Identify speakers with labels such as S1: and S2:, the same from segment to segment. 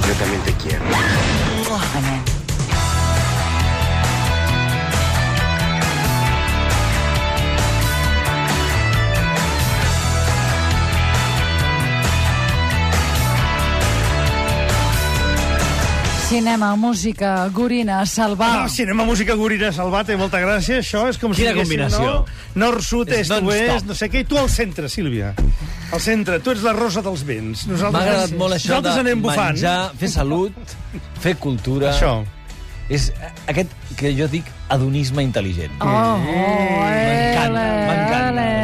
S1: completamente chiaro.
S2: Giovane. Cinema, música, gorina, salvar.
S3: Ah, cinema, música, gorina, salvat, té molta gràcia. Això és com
S4: Quina
S3: si diguéssim,
S4: combinació.
S3: No? Nord-sud,
S4: És
S3: est-oest,
S4: non-stop.
S3: no sé què. I tu al centre, Sílvia. Al centre. Tu ets la rosa dels vents. Nosaltres,
S4: M'ha agradat molt això de
S3: nosaltres anem bufant.
S4: menjar, eh? fer salut, fer cultura.
S3: Això.
S4: És aquest que jo dic hedonisme intel·ligent.
S2: Oh, oh,
S4: M'encanta,
S2: ele,
S4: m'encanta.
S2: ele.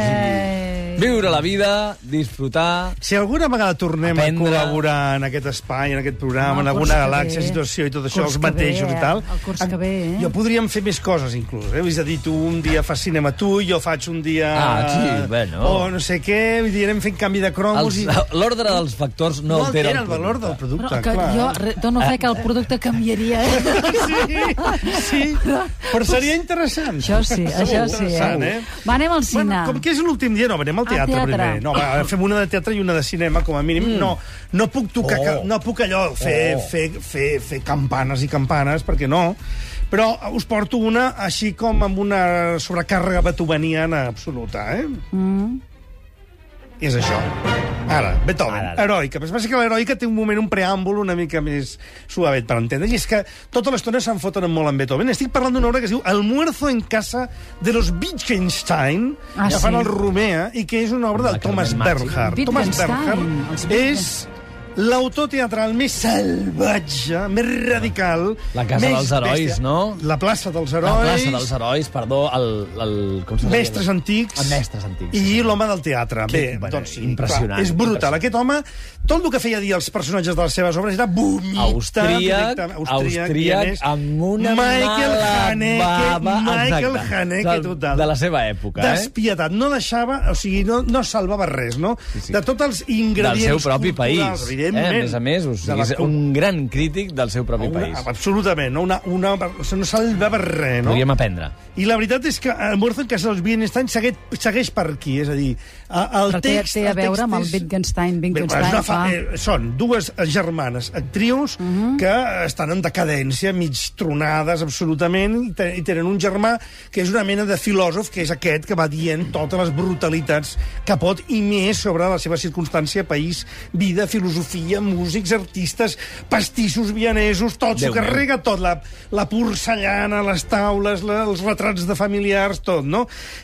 S4: Viure la vida, disfrutar...
S3: Si alguna vegada tornem a
S4: Aprendre.
S3: col·laborar en aquest espai, en aquest
S2: No,
S3: programa, en
S2: el curs
S3: alguna
S2: que
S3: galàxia,
S2: ve.
S3: situació i tot això,
S2: Curs
S3: els
S2: que
S3: mateixos
S2: ve,
S3: i tal...
S2: el curs que ve, eh?
S3: Jo podríem fer més coses, inclús. Eh? És a dir, tu un dia fas cinema tu, jo faig un dia...
S4: Ah, sí, bueno.
S3: O no sé què, vull dir, anem fent canvi de cromos...
S4: Els-
S3: i...
S4: L'ordre dels factors no,
S3: no altera el,
S4: producte.
S3: valor del producte,
S2: Però que
S3: clar.
S2: jo re- dono fe que el producte canviaria. eh?
S3: Sí, sí, però seria interessant.
S2: Això sí, això sí.
S3: Interessant, eh?
S2: Va, anem al
S3: Bueno,
S2: cine.
S3: com que és l'últim dia, no, anem al teatre,
S2: teatre.
S3: primer. No, va, fem una de teatre i una de cinema, com a mínim. Mm. No, no puc tocar,
S4: Oh.
S3: oh. no puc allò, fer,
S4: Oh.
S3: oh. fer, fer, fer campanes i campanes, perquè no. Però us porto una així com amb una sobrecàrrega beethoveniana absoluta, eh? Mm. És això. Ara, Beethoven, ara,
S4: Ara, ara.
S3: ara. heroica. Però es passa que l'heroica té un moment, un preàmbul una mica més suavet per entendre. I és que tota l'estona se'n foten molt amb Beethoven. Estic parlant d'una obra que es diu Almuerzo en casa de los Wittgenstein,
S2: Ah,
S3: que fan
S2: sí?
S3: el Romea, i que és una obra
S4: La
S3: de Thomas
S4: Carmen Machi.
S3: Bernhard. Thomas
S2: Wittgenstein, els
S3: Bernhard és l'autor teatral més salvatge, més radical...
S4: La casa
S3: més
S4: dels herois,
S3: bèstia.
S4: no?
S3: La plaça dels herois.
S4: La plaça dels herois, perdó, el... el com se deia?
S3: Mestres antics.
S4: El Ah, mestres antics.
S3: I l'home del teatre.
S4: Que-
S3: Bé,
S4: bueno,
S3: doncs, sí,
S4: impressionant,
S3: clar, És brutal.
S4: impressionant.
S3: Aquest home, tot el que feia dir els personatges de les seves obres era vomitar.
S4: Austríac,
S3: directament.
S4: austríac,
S3: i a més,
S4: amb una
S3: Michael
S4: mala
S3: Haneke,
S4: bava,
S3: Michael
S4: exacte,
S3: Haneke,
S4: del-
S3: total.
S4: de la seva època, eh?
S3: Despietat. No deixava, o sigui, no, no salvava res, no?
S4: sí.
S3: De tots els ingredients
S4: del seu propi
S3: culturals,
S4: país.
S3: Evidentment.
S4: Eh? A més a més, o
S3: De
S4: sigui,
S3: la
S4: és
S3: cul-
S4: un gran crític del seu propi
S3: una,
S4: país.
S3: Absolutament. No, una, una, o sigui, no salvava res, no?
S4: Podríem aprendre.
S3: I la veritat és que el Morzo en casa dels Wittgenstein segueix, segueix per aquí, és a dir, a- el
S2: Però té,
S3: text...
S2: té a
S3: el text
S2: veure amb el
S3: és-
S2: Wittgenstein.
S3: Bé,
S2: Wittgenstein,
S3: és una fa...
S2: clar.
S3: eh, són dues germanes actrius
S2: Mhm.
S3: que estan en decadència, mig tronades absolutament, i, te- i tenen un germà que és una mena de filòsof, que és aquest que va dient totes les brutalitats que pot i més sobre la seva circumstància, país, vida, filosofia, músics, artistes, pastissos vienesos, tot, s'ho
S4: Déu meu.
S3: carrega tot, la, la porcellana, les taules, la, els retrats de familiars, tot, no?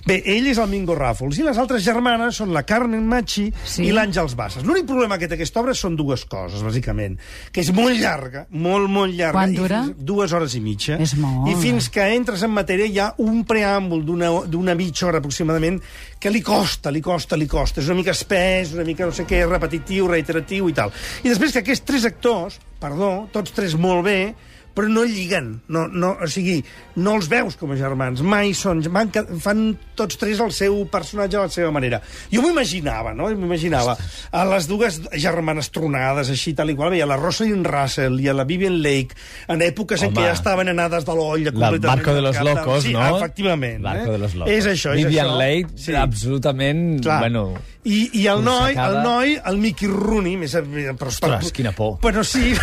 S3: Bé, ell és el Mingo Ràfols, i les altres germanes són la Carmen Machi
S2: Sí.
S3: sí. i l'Àngels Bassas. L'únic problema que té aquesta obra són dues coses, bàsicament. Que és molt llarga, molt, molt llarga.
S2: Quant
S3: i
S2: dura?
S3: fins- Dues hores i mitja.
S2: És molt.
S3: I fins que entres en matèria hi ha un preàmbul d'una d'una mitja hora aproximadament que li costa, li costa, li costa. És una mica espès, una mica no sé què, repetitiu, reiteratiu i tal. I després que aquests tres actors, perdó, tots tres molt bé, però no lliguen, no, no, o sigui, no els veus com a germans, mai són, van, ca- fan tots tres el seu personatge a la seva manera. Jo m'ho imaginava, no? M'ho imaginava. A les dues germanes tronades, així, tal i qual, veia la Rosalind Russell i a la Vivian Lake, en èpoques en
S4: Home.
S3: què ja estaven anades de l'olla
S4: La
S3: completament.
S4: Barco de los
S3: al cap
S4: Locos,
S3: sí,
S4: no?
S3: efectivament.
S4: Barco
S3: eh?
S4: de los Locos.
S3: És això, és
S4: Vivian
S3: això.
S4: Leigh, absolutament...
S3: Clar.
S4: Bueno,
S3: I, I el noi, el
S4: sacada.
S3: noi, el Mickey Rooney, més... a- Però,
S4: Ostres, quina por.
S3: Però sí...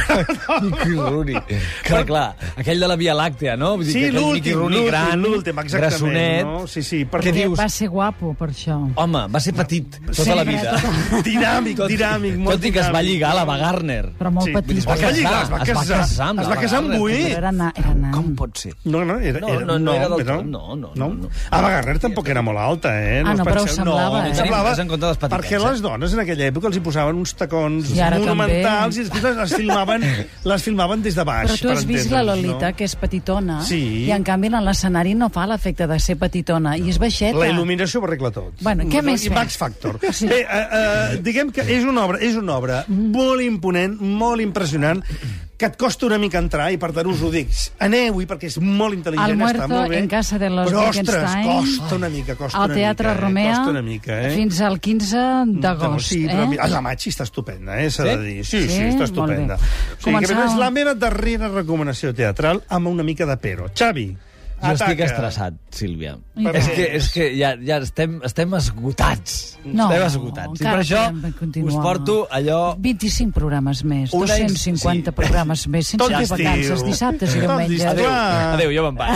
S4: Mickey Rooney. Clar, clar, aquell de la Via Làctea, no? Vull dir
S3: Sí,
S4: que aquell Mickey
S3: l'últim,
S4: Rooney
S3: l'últim,
S4: gran,
S3: l'últim, exactament,
S4: grassonet,
S3: no? Sí, sí, per
S4: que
S3: què Oh,
S4: dius,
S2: Va ser guapo, per això.
S4: home, va ser petit tota
S3: Sí,
S4: la vida.
S3: Dinàmic, dinàmic, molt
S4: Tot i que es va
S3: dinàmic.
S4: lligar a la Ava Gardner.
S2: Però molt
S3: Sí,
S2: petit.
S3: es va
S2: Però
S3: lligar, es va
S4: es va
S3: casar.
S4: casar amb
S3: Es
S4: la
S3: va casar amb
S4: Ava Gardner.
S3: Boí.
S2: Era, na, era nan.
S4: Com pot ser?
S3: No, no, era,
S4: No,
S3: era,
S4: no, no era del
S3: però-
S4: tot, no, no, no, no.
S3: Ava Gardner tampoc era molt alta, eh?
S2: Ah, no,
S3: us
S2: però
S3: penseu-
S2: ho semblava, eh?
S4: Tenim res en compte dels petitets,
S3: Perquè
S4: eh?
S3: les dones en aquella època els hi posaven uns tacons
S2: I ara també.
S3: monumentals i després les, les, filmaven, les filmaven des de baix.
S2: Però tu has
S3: per
S2: vist la
S3: entendre'ns,
S2: Lolita,
S3: No?
S2: que és petitona,
S3: Sí.
S2: i en canvi en l'escenari no fa l'efecte de ser petitona, i és baixeta.
S3: La il·luminació ho arregla tot.
S2: Bueno, què més
S3: I
S2: fem?
S3: Max Factor.
S2: Sí.
S3: Sí. Bé, eh, eh, diguem que és una obra, és una obra molt imponent, molt impressionant, que et costa una mica entrar, i per tant us ho dic. Aneu-hi, perquè és molt intel·ligent,
S2: Almuerzo
S3: està molt bé.
S2: en casa de los
S3: Però, ostres,
S2: Wittgenstein,
S3: costa una mica, costa
S2: Al
S3: una
S2: Teatre
S3: mica,
S2: Romea,
S3: eh? Costa una mica, eh?
S2: fins al 15 d'agost.
S3: Sí, però
S2: eh?
S3: eh? la Machi està estupenda, eh? S'ha
S4: Sí?
S3: de dir. Sí, sí,
S2: Sí?
S3: està
S2: Molt
S3: estupenda.
S2: bé.
S3: O sigui, que
S2: Començava-
S3: és la meva darrera recomanació teatral amb una mica de però. Xavi,
S4: Jo estic
S3: Ataca.
S4: estressat, Sílvia.
S2: I
S4: És
S3: tant.
S4: que, és que ja, ja estem, estem esgotats.
S2: No,
S4: estem esgotats. I
S2: encara
S4: per això
S2: podem continuar.
S4: us porto allò...
S2: 25 programes més,
S4: Un any-
S2: 250
S4: sí.
S2: programes més, sense
S3: Tot
S2: fer
S3: l'estiu.
S2: vacances, dissabtes i
S3: Tot
S2: diumenges.
S3: l'estiu. Ah.
S4: Adéu, jo me'n vaig.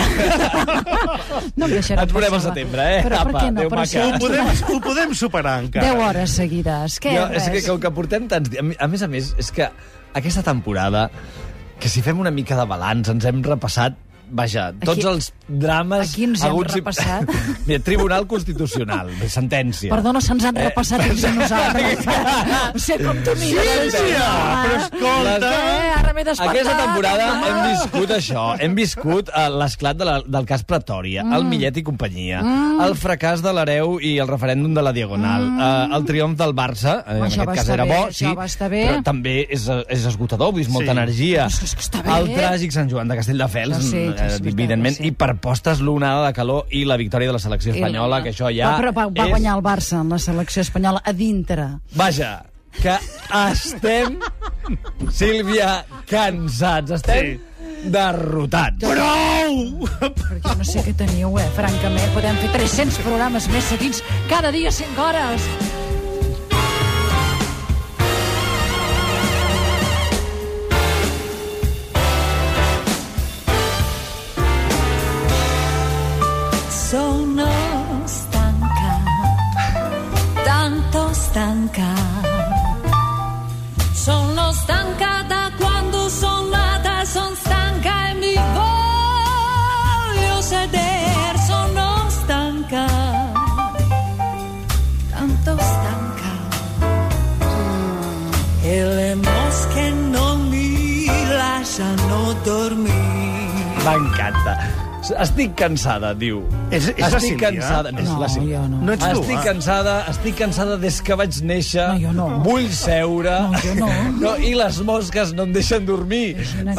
S2: No em deixarà
S4: Et veurem
S2: passar
S4: al
S2: la-
S4: setembre, eh?
S2: Però per
S4: Apa,
S2: què no?
S4: adéu,
S2: Però si
S4: maca.
S3: Ho
S2: ens
S3: podem,
S2: donen
S3: ho podem superar, encara.
S2: 10 hores seguides. Què?
S4: Jo, és
S2: res?
S4: que, com que portem tants dies... A més a més, és que aquesta temporada, que si fem una mica de balanç, ens hem repassat Vaja, tots
S2: Aquí-
S4: els drames...
S2: aquí ens hem
S4: haguts i-
S2: repassat.
S4: Mira, Tribunal Constitucional, sentència.
S2: Perdona, se'ns
S4: Eh.
S2: han repassat ells a nosaltres. o sigui, com tu mires...
S3: Sí, ja, però escolta...
S2: Eh, ara m'he despertat. Ah.
S4: Aquesta temporada
S2: home.
S4: hem viscut això. Hem viscut eh, l'esclat de la, del cas Pretòria, el
S2: Mm.
S4: Millet i companyia, el fracàs de l'Hereu i el referèndum de la Diagonal, eh, el triomf del Barça, eh, en
S2: Mm. Això va
S4: aquest cas
S2: estar
S4: era
S2: bé,
S4: bo,
S2: això
S4: sí,
S2: va estar bé.
S4: però també és, eh, és esgotador, vull dir, és molta
S3: Sí.
S4: energia.
S2: Però és que està bé.
S4: El tràgic Sant Joan de Castelldefels,
S2: Això sí, això és
S4: eh,
S2: veritat,
S4: evidentment,
S2: sí.
S4: i per postes l'onada de calor i la victòria de la selecció
S2: I la-
S4: espanyola, que això ja
S2: Va, però va, va
S4: és...
S2: guanyar el Barça en la selecció espanyola a dintre.
S4: Vaja, que estem, Sílvia, cansats. Estem derrotats.
S3: Prou!
S2: Perquè no sé què teniu, eh? Francament, podem fer 300 programes més seguits cada dia 5 hores.
S1: Sono stanca, tanto stanca. Sono stanca da quando sono nata, sono stanca e mi voglio sedere. Sono stanca, tanto stanca. E le mosche non mi lasciano dormire.
S4: M'encanta. Estic cansada, diu.
S3: És- és la
S4: estic
S3: Sílvia?
S4: cansada.
S3: És
S2: No,
S4: la Sílvia.
S2: jo no.
S3: No ets tu,
S4: estic
S3: ah.
S4: cansada, estic cansada des que vaig néixer.
S2: No, jo no.
S4: Vull seure.
S2: No, jo no.
S4: no. I les mosques no em deixen dormir.
S2: Imagina't.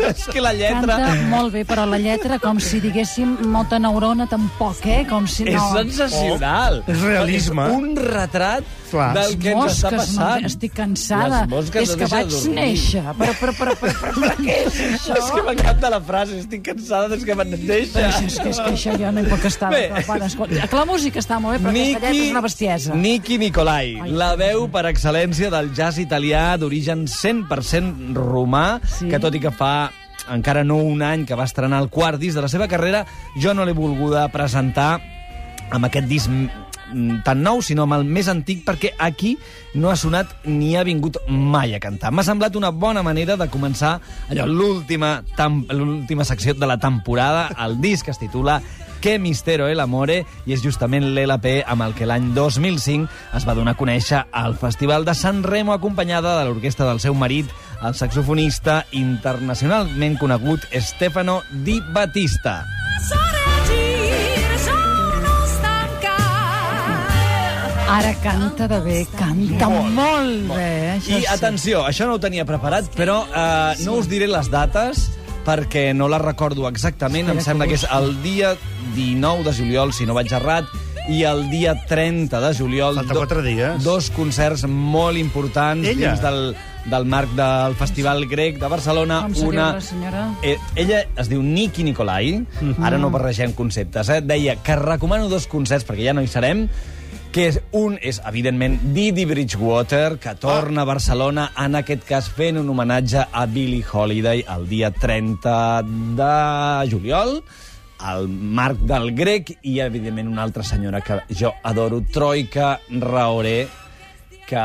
S4: és que la lletra...
S2: Canta molt bé, però la lletra, com si diguéssim molta neurona, tampoc, eh? Com si
S4: És
S2: no...
S4: sensacional.
S3: Oh, és realisme.
S4: És un retrat
S3: Clar.
S4: del que ens està
S2: Mosques, no,
S4: passant.
S2: estic cansada.
S4: Les mosques
S2: és
S4: no
S2: que
S4: deixen
S2: vaig
S4: dormir.
S2: néixer. Però, però, però, però, però, però què és això?
S4: És que m'encanta la frase, estic cansada des que me'n deixa.
S2: Això, és, que, és que això jo no hi puc estar.
S4: Bé.
S2: Bé. Bueno, escolta, que la música està molt bé, però Niki... aquesta lletra és una bestiesa.
S4: Niki Nicolai,
S2: Ai,
S4: la veu per excel·lència del jazz italià d'origen 100% romà,
S2: Sí.
S4: que tot i que fa encara no un any que va estrenar el quart disc de la seva carrera, jo no l'he volguda presentar amb aquest disc mm, tan nou, sinó amb el més antic, perquè aquí no ha sonat ni ha vingut mai a cantar. M'ha semblat una bona manera de començar allò l'última tam- l'última secció de la temporada, el disc que es titula Que mistero el amore, i és justament l'LP amb el que l'any 2005 es va donar a conèixer al Festival de San Remo, acompanyada de l'orquestra del seu marit, el saxofonista internacionalment conegut Stefano Di Battista.
S1: Sorregir, sono stanca.
S2: Ara canta de bé, canta molt, molt bé. eh, Això
S4: I atenció, això no ho tenia preparat, però eh, no us diré les dates perquè no les recordo exactament.
S2: Espera
S4: Em
S2: que
S4: sembla que és
S2: busco.
S4: el dia 19 de juliol, si no vaig errat, i el dia 30 de juliol.
S3: Falta
S4: do-
S3: quatre dies.
S4: Dos concerts molt importants
S3: Ella?
S4: dins del, del marc del Festival Grec de Barcelona.
S2: Com se diu
S4: una...
S2: la senyora?
S4: Eh, ella es diu Niki Nicolai, ara no barregem conceptes, eh? deia que recomano dos concerts, perquè ja no hi serem, que és, un és, evidentment, Didi Bridgewater, que torna a Barcelona, en aquest cas fent un homenatge a Billie Holiday el dia 30 de juliol, al Marc del Grec, i, evidentment, una altra senyora que jo adoro, Troika Raoré, que...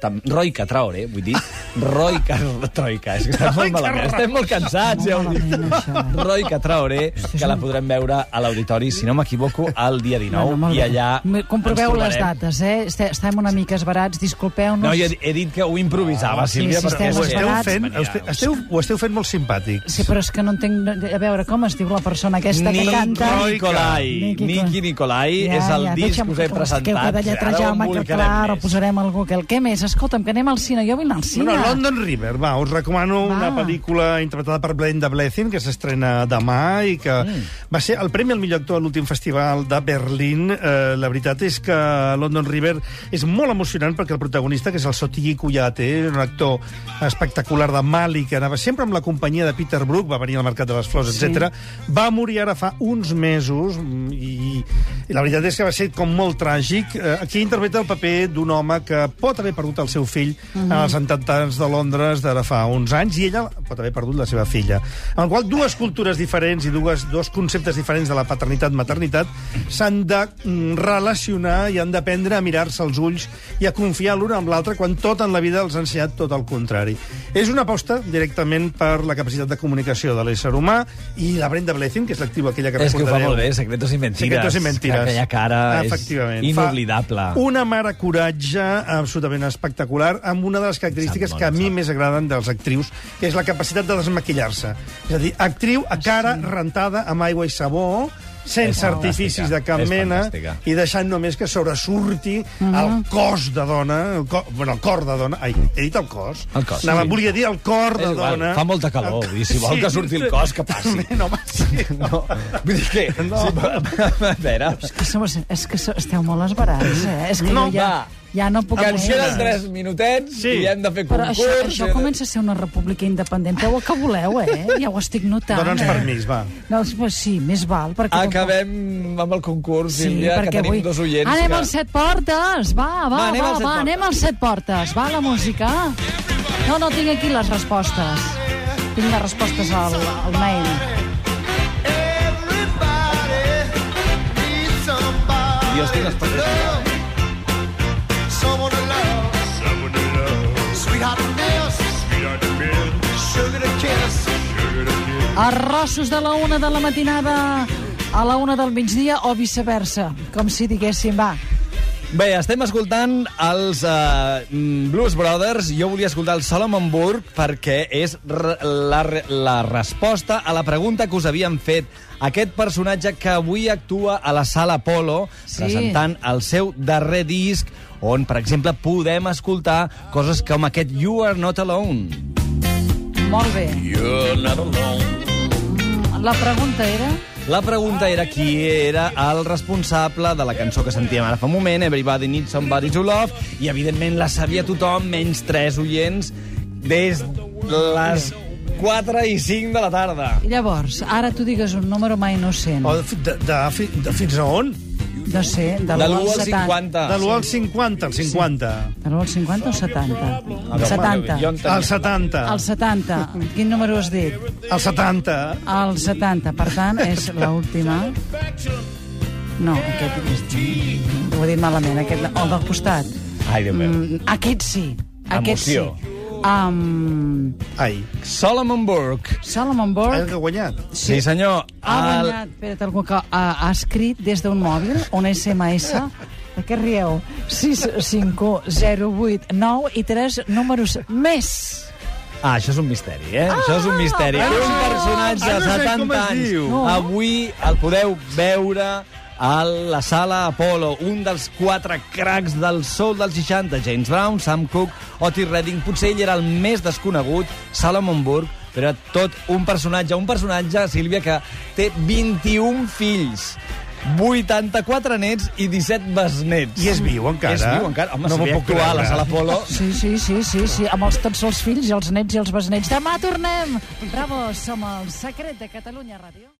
S4: Tam... Roica Traoré, vull dir. Roica Troika. És que estem molt malament. Estem molt cansats, ja ho dic.
S2: Malament, això. eh.
S4: Roica Traoré, Ah, que la podrem veure a l'auditori, si no m'equivoco, el dia 19,
S2: molt
S4: i
S2: bé.
S4: allà
S2: Me- Comproveu
S4: ens
S2: les
S4: trobarem.
S2: dates, eh? Este- Estem una mica esbarats, disculpeu-nos.
S4: No, jo he dit que ho improvisava,
S2: Ah, sí,
S4: Sílvia,
S2: sí,
S4: perquè...
S2: estem
S3: Ho esteu
S2: esperats.
S3: fent, esteu, esteu, ho esteu fent molt simpàtic.
S2: Sí, però és que no entenc... no- A veure, com es diu la persona aquesta que canta?
S4: Niki Nicolai.
S2: Nicky
S4: Niki Nicolai és el disc
S2: deixa'm
S4: que us he
S2: Que
S4: presentat.
S2: heu de lletrejar-me, que clar,
S4: ho
S2: ho posarem algú que el què més? Escolta'm, que anem al cine. Jo vull anar al cine.
S3: No, no, London River, va, us recomano
S2: Va.
S3: va. una pel·lícula interpretada per Brenda Blethyn, que s'estrena demà i que mm. va ser el premi al millor actor a l'últim festival de Berlín. Eh, la veritat és que London River és molt emocionant perquè el protagonista, que és el Sotigi Kuyate, és un actor espectacular de Mali, que anava sempre amb la companyia de Peter Brook, va venir al Mercat de les Flors, sí. etc. Va morir ara fa uns mesos mm, i, i la veritat és que va ser com molt tràgic. Eh, aquí interpreta el paper d'un home que pot haver perdut el seu fill mm -hmm. als atemptats de Londres d'ara fa uns anys i ella pot haver perdut la seva filla. En el qual dues cultures diferents i dues, dos conceptes diferents de la paternitat-maternitat s'han de mm, relacionar i han d'aprendre a mirar-se als ulls i a confiar l'un en l'altre quan tot en la vida els ha ensenyat tot el contrari. És una aposta directament per la capacitat de comunicació de l'ésser humà i la Brenda Blethyn, que és l'activa aquella que
S4: És que ho fa
S3: recordareu.
S4: molt bé, Secretos i Mentires.
S3: Secretos i mentires. Ah,
S4: Aquella cara
S3: Efectivament.
S4: és inoblidable.
S3: Fa una mare coratge absolutament espectacular, amb una de les característiques
S4: Em sap
S3: que a
S4: molt,
S3: mi
S4: em sap.
S3: més agraden dels actrius, que és la capacitat de desmaquillar-se. És a dir, actriu a cara rentada amb aigua i sabó,
S4: És
S3: sense
S4: fantàstica,
S3: artificis de cap
S4: és
S3: mena
S4: fantàstica.
S3: i deixant només que sobresurti el cos de dona, el cor, bueno, el cor de dona... Ai, he dit el cos?
S4: El cos,
S3: Anava,
S4: sí.
S3: Volia dir el cor de
S4: És igual,
S3: dona.
S4: fa molta calor, vull dir, si vol que surti el cos, que passi.
S3: No, home, sí.
S4: No, vull dir que...
S3: No.
S4: Sí, a veure...
S2: És que, sou, és que sou, esteu molt esbarats, eh? És que
S3: No,
S2: jo ja,
S4: va.
S2: ja no puc
S4: Cançó de
S2: més.
S4: 3 minutets
S3: Sí.
S4: i hem de fer
S2: Però
S4: concurs... eh?
S2: això, això
S4: hem de-
S2: comença a ser una república independent. Feu el que voleu, eh? Ja ho estic notant.
S3: Dóna'ns
S2: eh?
S3: permís, va.
S2: No, pues sí, més val. Perquè
S4: Acabem amb el concurs,
S2: Sí,
S4: Sílvia, que
S2: perquè
S4: tenim
S2: avui...
S4: dos oients
S2: Anem
S4: que...
S2: als set portes, va, va, va,
S4: anem
S2: va,
S4: als set
S2: va
S4: portes.
S2: anem als set portes. Va, la música. No, no, tinc aquí les respostes. Tinc les respostes al, al mail.
S4: Jo estic expectant.
S2: Els rossos de la una de la matinada a la una del migdia o viceversa, com si diguéssim, va.
S4: Bé, estem escoltant els uh, Blues Brothers. Jo volia escoltar el Solomon Burke perquè és re- la, re- la resposta a la pregunta que us havíem fet. Aquest personatge que avui actua a la sala Polo
S2: Sí.
S4: presentant el seu darrer disc on, per exemple, podem escoltar coses com aquest You Are Not Alone.
S2: Molt bé. La pregunta era...
S4: La pregunta era qui era el responsable de la cançó que sentíem ara fa un moment, Everybody Needs Somebody to Love, i evidentment la sabia tothom, menys tres oients, des les 4 i 5 de la tarda.
S2: I llavors, ara tu digues un número mai innocent.
S3: O de, de, de, Oh, fi- de, fins a on?
S2: No sé, de
S4: Oh. De
S2: l'1
S4: l'1
S2: al
S4: al
S2: 70.
S4: 50.
S3: De l'1 al 50, al 50.
S2: De l'1 al 50 o 70?
S4: Ah, no,
S2: 70.
S4: jo en tenia.
S3: Al 70.
S2: El 70. Quin número has dit?
S3: Al 70.
S2: El 70. Per tant, és l'última. No, aquest... és- Ho he dit malament. Aquest, el del costat.
S4: Ai, Déu meu.
S2: Mm, aquest sí. Aquest
S4: Emoció.
S2: sí. Um,
S3: Ai,
S4: Solomon Burke.
S2: Solomon
S3: el
S2: Borg
S3: que ha guanyat.
S4: Sí, senyor.
S2: ha
S4: el-
S2: guanyat, espera't, algú que ha, ha escrit des d'un mòbil, un SMS, de què rieu? 6, 5, 0, 8, 9 i 3 números més.
S4: Ah, això és un misteri, eh? Ah, això és un misteri.
S3: ah,
S4: un personatge
S3: ah,
S4: de
S3: no sé
S4: 70
S3: com es
S4: anys.
S3: diu.
S4: No. Avui el podeu veure a la sala Apollo, un dels quatre cracs del sol dels 60, James Brown, Sam Cooke, Otis Redding, potser ell era el més desconegut, Salomon Burke, però era tot un personatge, un personatge, Sílvia, que té 21 fills, 84 nets i 17 besnets.
S3: I és viu, encara?
S4: És viu encara.
S3: No
S4: Home, no si
S3: m'ho
S4: ve a
S3: puc
S4: actuar a la
S3: creure.
S4: sala Apollo...
S2: Sí, sí, sí, sí, sí, amb els, tots els fills, els nets i els besnets. Demà tornem! Bravo, som el secret de Catalunya Ràdio.